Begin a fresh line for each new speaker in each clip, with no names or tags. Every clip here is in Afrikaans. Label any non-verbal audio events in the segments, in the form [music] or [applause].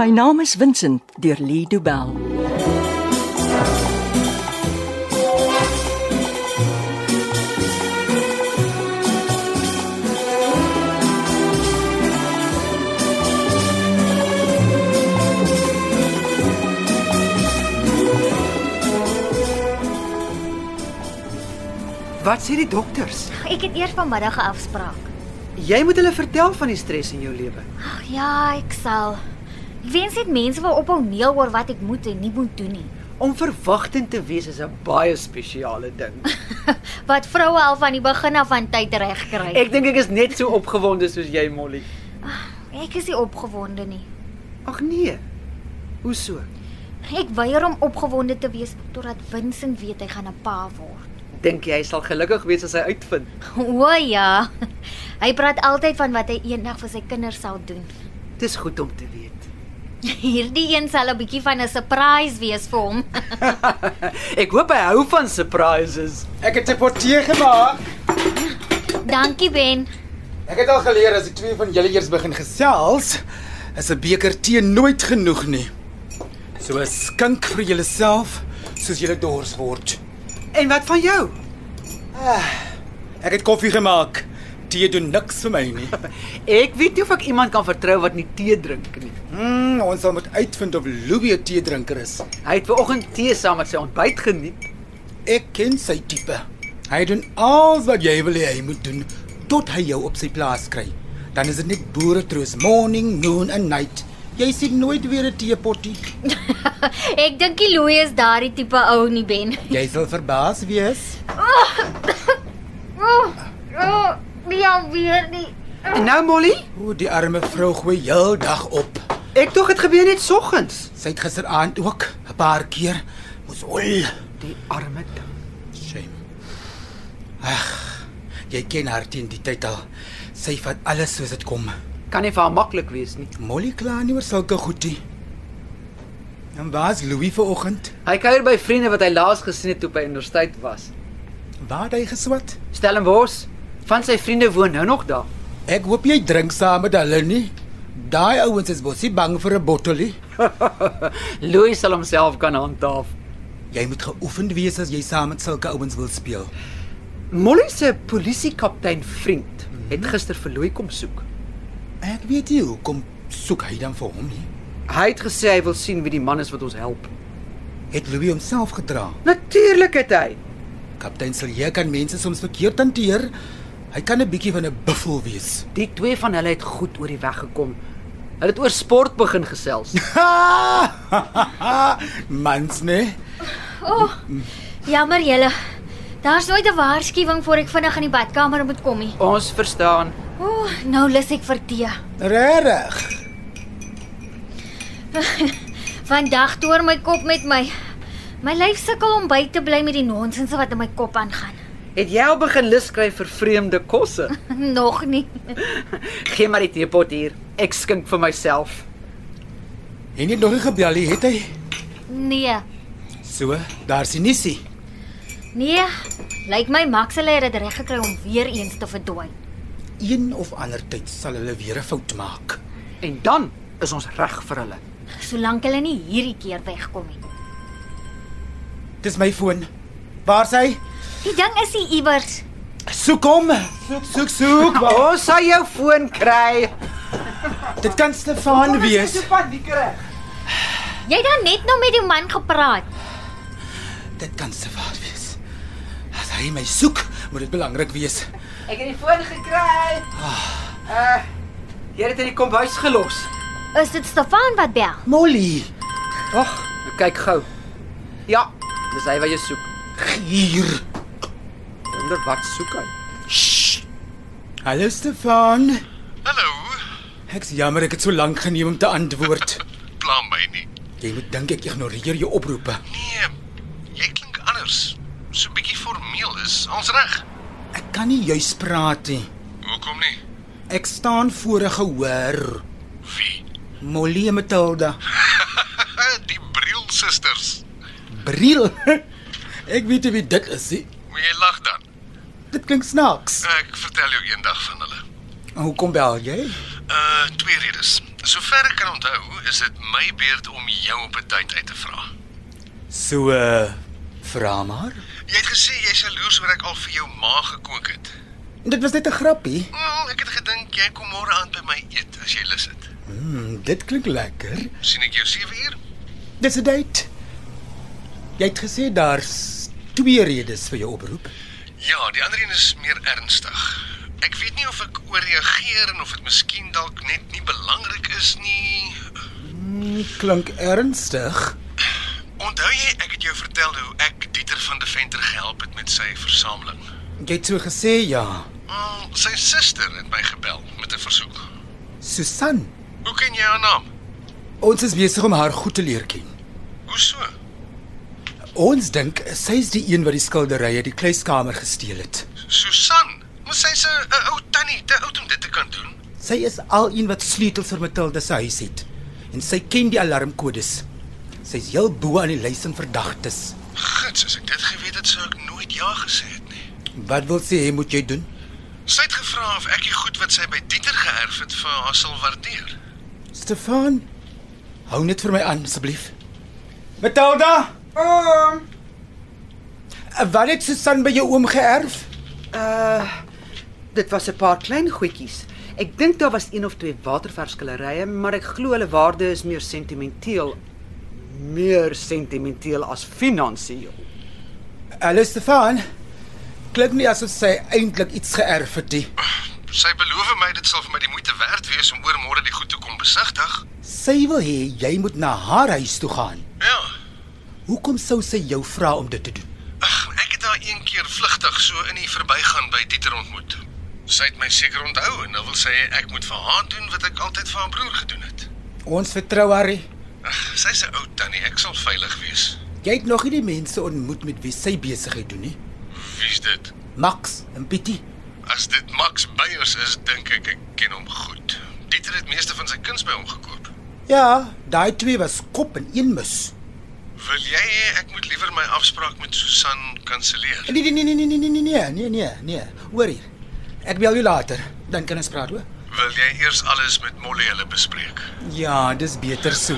My naam is Vincent deur Lee Du Bell.
Wat sê die dokters?
Ek het eers vanmiddag 'n afspraak.
Jy moet hulle vertel van die stres in jou lewe.
Ag ja, ek sal. Ek wens net mense wil ophou neel oor wat ek moet en nie moet doen nie. [laughs]
Om verwagtend te wees is 'n baie spesiale ding.
Wat vroue al van die begin af van tyd reg kry. Ek,
Ek dink ek is net so opgewonde soos jy, Molly.
ek is nie opgewonde nie.
Ag nee. Hoe so?
Ek weier om opgewonde te wees totdat Vincent weet hy gaan 'n pa word. [laughs]
Dink jy hy sal gelukkig wees as hy uitvind?
O ja. Hy praat altyd van wat hy eendag vir sy kinders sal doen. [laughs]
Dis goed om te weet.
Hierdie een sal 'n bietjie van 'n surprise wees vir hom. [laughs]
Ek hoop hy hou van surprises.
Ek het 'n portee gemaak.
Dankie Ben.
Ek het al geleer as die twee van julle eers begin gesels, is 'n beker tee nooit genoeg nie. So skink vir julleself soos julle dors word.
En wat van jou?
Ek het koffie gemaak. Tee doen niks vir my
[laughs]
nie.
Ek weet nie of ek iemand kan vertrou wat nie tee drink nie.
Mm, ons sal moet uitvind of Louie 'n teedrinker is.
Hy het ver oggend tee saam met sy ontbyt geniet.
Ek ken sy tipe. Hy doen alles wat jy wil hê hy moet doen tot hy jou op sy plaas kry. Dan is dit net boere troos morning, noon en night. Jy sien nooit weer 'n teepottie.
Ek dink die Louis is daardie tipe ou nie Ben.
Jy sal verbaas wees.
O, o, Oh, nie alweer nie.
En nou Molly,
O, die arme vrou gooi heel dag op.
ek tog dit gebeur net soggens.
Sy het gisteraand ook 'n paar keer moes hol.
Die arme ding.
Shame. Ag, jy ken haar teen die tyd al. Sy vat alles soos dit kom.
Kan nie vir haar maklik wees nie.
Molly kla nie oor sulke goedie. En waar's Louis vanoggend?
Hy kuier by vriende wat hy laas gesien het toe by universiteit was.
Waar het hy geswat?
Stellenbosch, van sy vriende woon nou nog daar.
Ek hoop jy drink saam met hulle nie. Daai ouens is bosie bang vir 'n bottelie.
Louis sal homself kan handhaaf.
Jy moet geoefend wees as jy saam met sulke ouens wil speel.
Molly se polisiekaptein vriend het gister vir Louis kom soek.
Ek weet nie hoekom soek hy dan vir hom nie.
Hy het gesê hy wil sien wie die man is wat ons help.
Het Louis homself gedra?
Natuurlik het hy.
Kaptein Silje kan mense soms verkeerd hanteer. Hy kan 'n bietjie van 'n buffel wees. [laughs]
Die twee van hulle het goed oor die weg gekom. Hulle het oor sport begin gesels.
Mans nee.
O, Oh, jammer julle. Daar's nooit 'n waarskuwing voor ek vinnig in die badkamer moet kom nie.
Ons verstaan.
O, nou lus ek vir tee.
Regtig.
Vandag toer my kop met my. My lyf sukkel om by te bly met die nonsens wat in my kop aangaan. [laughs]
Het jy al begin lus kry vir vreemde kosse?
Nog nie.
Geen maar die teepot hier. Ek skink vir myself.
En het nog nie gebel nie, het hy?
Nee.
So, daar sien Nissie.
Nee. Lyk my Max hulle het dit reg gekry om weer eens te verdwaal.
Een of ander tyd sal hulle weer 'n fout maak.
En dan is ons reg vir hulle.
Solank hulle nie hierdie keer wegkom nie.
Dis my foon. Waar's hy?
Die ding is hier iewers.
Soek hom. Soek, soek, soek. Waar?
[laughs] Ons Nou, sal jou foon kry.
Dit kan Stefan wees.
paniekerig.
Jy het dan net nou met die man gepraat.
Dit kan Stefan wees. As hy my soek, moet dit belangrik wees.
Ek het die foon gekry. Uh, jy het dit in die kombuis gelos.
Is dit Stefan wat bel?
Molly,
Ag, nou kyk gou. Ja, dis hy wat jy soek.
hier.
Wonder wat soek hy?
Hallo Stefan.
Hallo,
Ek's jammer ek het so lank geneem om te antwoord.
pla my nie.
Jy moet dink ek ignoreer jou oproepe.
Nee, jy klink anders. So 'n bietjie formeel is ons reg.
Ek kan nie juis praat nie.
Hoekom nie?
Ek staan voor 'n gehoor.
Wie?
Molly en Matilda.
die Briel susters.
Bril. [laughs] Ek weet nie wie dit is nie.
Moet jy lag dan?
Dit klink snaaks.
Ek vertel jou eendag van hulle.
Hoekom bel jy?
Uh twee redes. Sover ek kan onthou, is dit my beurt om jou op 'n date uit te vra.
So uh, vra maar.
Jy het gesê jy's jaloers oor ek al vir jou ma gekook het.
Dit was net 'n grappie.
Wel, ek het gedink jy kom môre aand by my eet as jy lus het.
Mm, dit klink lekker.
sien ek jou 7 uur?
Dis 'n date. Jy het gesê daar's twee redes vir jou oproep.
Ja, die ander een is meer ernstig. Ek weet nie of ek ooreageer en of dit miskien dalk net nie belangrik is nie.
Klink ernstig.
Onthou jy ek het jou vertel hoe ek Dieter van der Venter gehelp het met sy versameling?
Jy het so gesê ja.
Mm, sy suster het my gebel met 'n versoek.
Susan,
Hoe ken jy haar naam?
ons is besig om haar goed te leer ken.
Hoe so?
Ons dink sy's die een wat die skilderye uit die kluiskamer gesteel het.
Susan. Maar sy's 'n 'n ou tannie, te oud om dit te kan doen.
Sy is al een wat sleutels vir Matilda se huis het en sy ken die alarmkodes. Sy's heel bo aan die lys van verdagtes.
Gits, as ek dit geweet het sou ek nooit ja gesê het nie.
Wat wil sê hy moet jy doen?
Sy het gevra of ek die goed wat sy by Dieter geërf het vir haar sal waardeer.
Stefan, hou net vir my aan asseblief. Matilda, Eh,
Oom,
wat het Susan by jou oom geërf?
uh dit was 'n paar klein goedjies. Ek dink daar was een of twee waterverskillerye, maar ek glo hulle waarde is meer sentimenteel meer sentimenteel as finansiëel.
Hallo Stefan. Klink nie asof sy eintlik iets geërf het nie.
Sy beloof my dit sal vir my die moeite werd wees om oor môre die goed te kom besigtig.
Sy wil hê jy moet na haar huis toe gaan.
Ja.
Hoekom sou sy jou vra om dit te doen?
Ag, ek het haar een keer vlugtig so in die verbygaan by Dieter ontmoet. Sy het my seker onthou en nou wil sy ek moet vir haar doen wat ek altyd vir haar broer gedoen het.
Ons vertrou haar. nie.
Ag, sy's 'n ou tannie, ek sal veilig wees.
Jy het nog nie die mense ontmoet met wie sy besigheid doen nie.
Wie's dit?
Max en Pietie.
As dit Max Beyers is, dink ek ek ken hom goed. Dieter het meeste van sy kuns by hom gekoop.
Ja, daai twee was kop en een mus.
Wil jy hê ek moet liewer my afspraak met Susan kanselleer?
Nee nee nee nee nee nee nee nee nee nee nee. Hoor hier. Ek bel jou later, dan kan ons praat hoor.
Wil jy eers alles met Molly hulle bespreek?
Ja, dis beter so.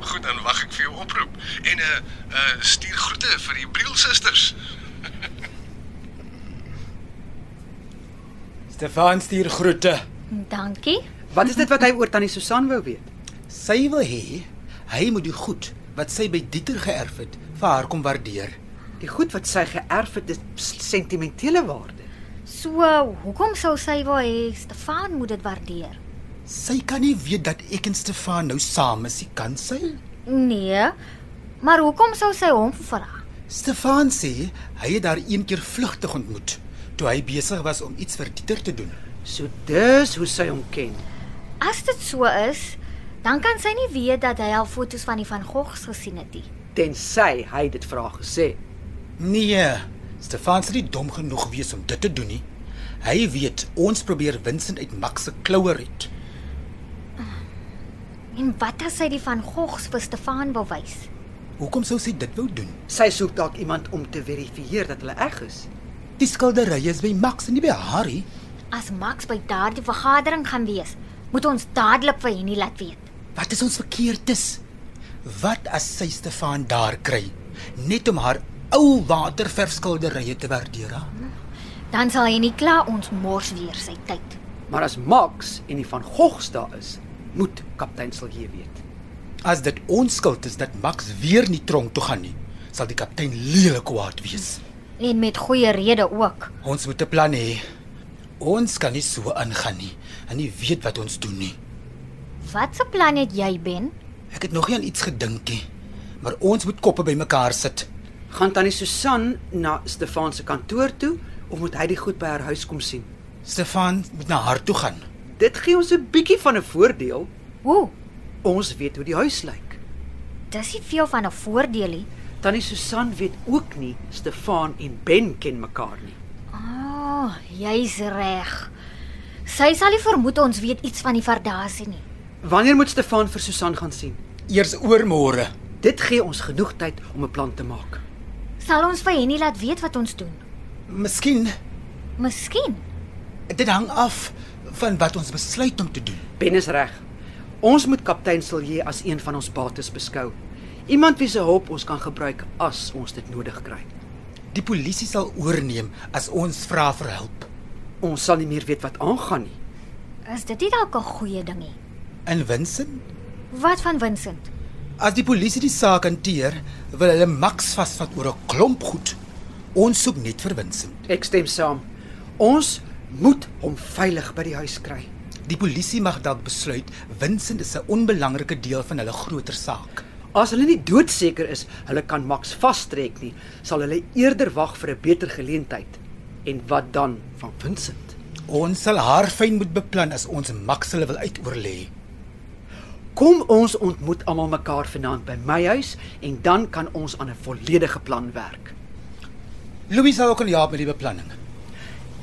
Goed, dan wag ek vir jou oproep en 'n uh, uh, stuur groete vir die Briel susters.
Stefan stuur groete.
Dankie.
Wat is dit wat hy oor tannie Susan wou weet?
Sy wil hê hy moet die goed wat sy by Dieter geërf het vir haar kom waardeer.
Die goed wat sy geërf het, is sentimentele waarde.
So, hoekom sou sy wou hê Stefan moet dit waardeer?
Sy kan nie weet dat ek en Stefan nou saam is, nie, kan sy?
Nee. Maar hoekom sou sy hom vra?
Stefan sê hy het haar een keer vlugtig ontmoet toe hy besig was om iets vir Dieter te doen.
So dis hoe sy hom ken.
As dit so is, dan kan sy nie weet dat hy al foto's van die Van Goghs gesien het nie.
Tensy hy dit vra gesê.
Nee, Stefan sê nie dom genoeg wees om dit te doen nie. Hy weet ons probeer Vincent uit Max se kloue red.
En wat as sy die Van Goghs vir Stefan wil wys?
Hoekom sou sy dit wou doen?
Sy soek dalk iemand om te verifieer dat hulle reg is.
Die skilderye is by Max en nie by Harry.
As Max by daardie vergadering gaan wees, moet ons dadelik vir Henny laat weet.
Wat is ons verkeerdes? Wat as sy Stefan daar kry net om haar ou waterverfskilderye te waardeer? Ha?
Dan sal Henny klaar ons mors weer sy tyd.
Maar as Max en die van Gogs daar is, moet kaptein Silje weet.
As dit onskuld is dat Max weer nie tronk toe gaan nie, sal die kaptein lelik kwaad wees.
En met goeie rede ook.
Ons moet 'n plan hê. Ons kan nie so aangaan nie en nie weet wat ons doen nie.
Wat se plan het jy, Ben?
Ek het nog nie aan iets gedink nie, maar ons moet koppe bymekaar sit.
Gaan tannie Susan na Stefan se kantoor toe of moet hy die goed by haar huis kom sien?
Stefan moet na haar toe gaan.
Dit gee ons 'n bietjie van 'n voordeel.
Ooh,
Ons weet hoe die huis lyk.
dis nie veel van 'n voordeel nie.
Tannie Susan weet ook nie Stefan en Ben ken mekaar nie.
Ah, oh, jy's reg. Sy sal nie vermoed ons weet iets van die Vardasie nie.
Wanneer moet Stefan vir Susan gaan sien?
Eers oormôre.
Dit gee ons genoeg tyd om 'n plan te maak.
Sal ons vir Henny laat weet wat ons doen?
Miskien
Miskien.
dit hang af van wat ons besluit om te doen.
Ben is reg. Ons moet kaptein Silje as een van ons bates beskou. Iemand wie se hulp ons kan gebruik as ons dit nodig kry.
Die polisie sal oorneem as ons vra vir hulp.
Ons sal nie meer weet wat aangaan nie.
Is dit nie dalk 'n goeie dingie?
En Vincent,
Wat van Vincent?
as die polisie die saak hanteer, wil hulle Max vasvat oor 'n klomp goed. Ons soek net vir Vincent.
Ek stem saam. Ons moet hom veilig by die huis kry.
Die polisie mag dalk besluit Vincent is 'n onbelangrike deel van hulle groter saak.
As hulle nie doodseker is hulle kan Max vastrek nie, sal hulle eerder wag vir 'n beter geleentheid. En wat dan van Vincent?
Ons sal haar fyn moet beplan as ons Max hulle wil uitoorlê.
Kom ons ontmoet almal mekaar vanaand by my huis en dan kan ons aan 'n volledige plan werk.
Louis sal ook kan help met die beplanning.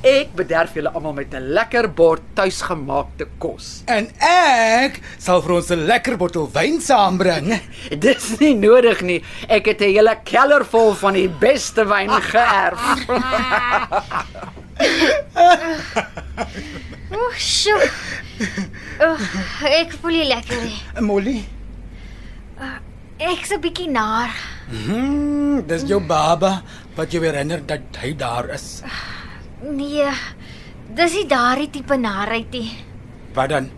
Ek bederf julle almal met 'n lekker bord tuisgemaakte kos. [laughs]
En ek sal vir ons 'n lekker bottel wyn saambring. Eh,
Dis nie nodig nie. Ek het 'n hele keller vol van die beste wyn geërf.
Oeg, sjoe. Oeg, ek voel nie lekker nie.
Molly,
Ek's 'n bietjie nar.
hmm, dis jou baba wat jou herinner dat hy daar is.
Nee. Dis nie daardie tipe narheid nie.
Wat dan?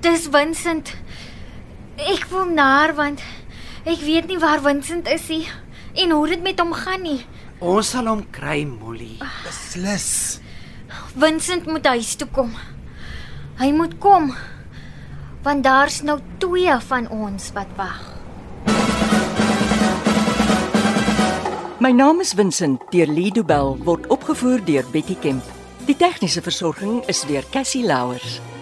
Dis Vincent. Ek voel nar want ek weet nie waar Vincent is nie en hoe dit met hom gaan nie.
Ons sal hom kry, Molly.
Beslis.
Vincent moet huis toe kom. Hy moet kom. Want daar's nou twee van ons wat wag.
My naam is Vincent deur Lido Bell word opgevoer deur Betty Kemp. Die tegniese versorging is deur Cassie Louers.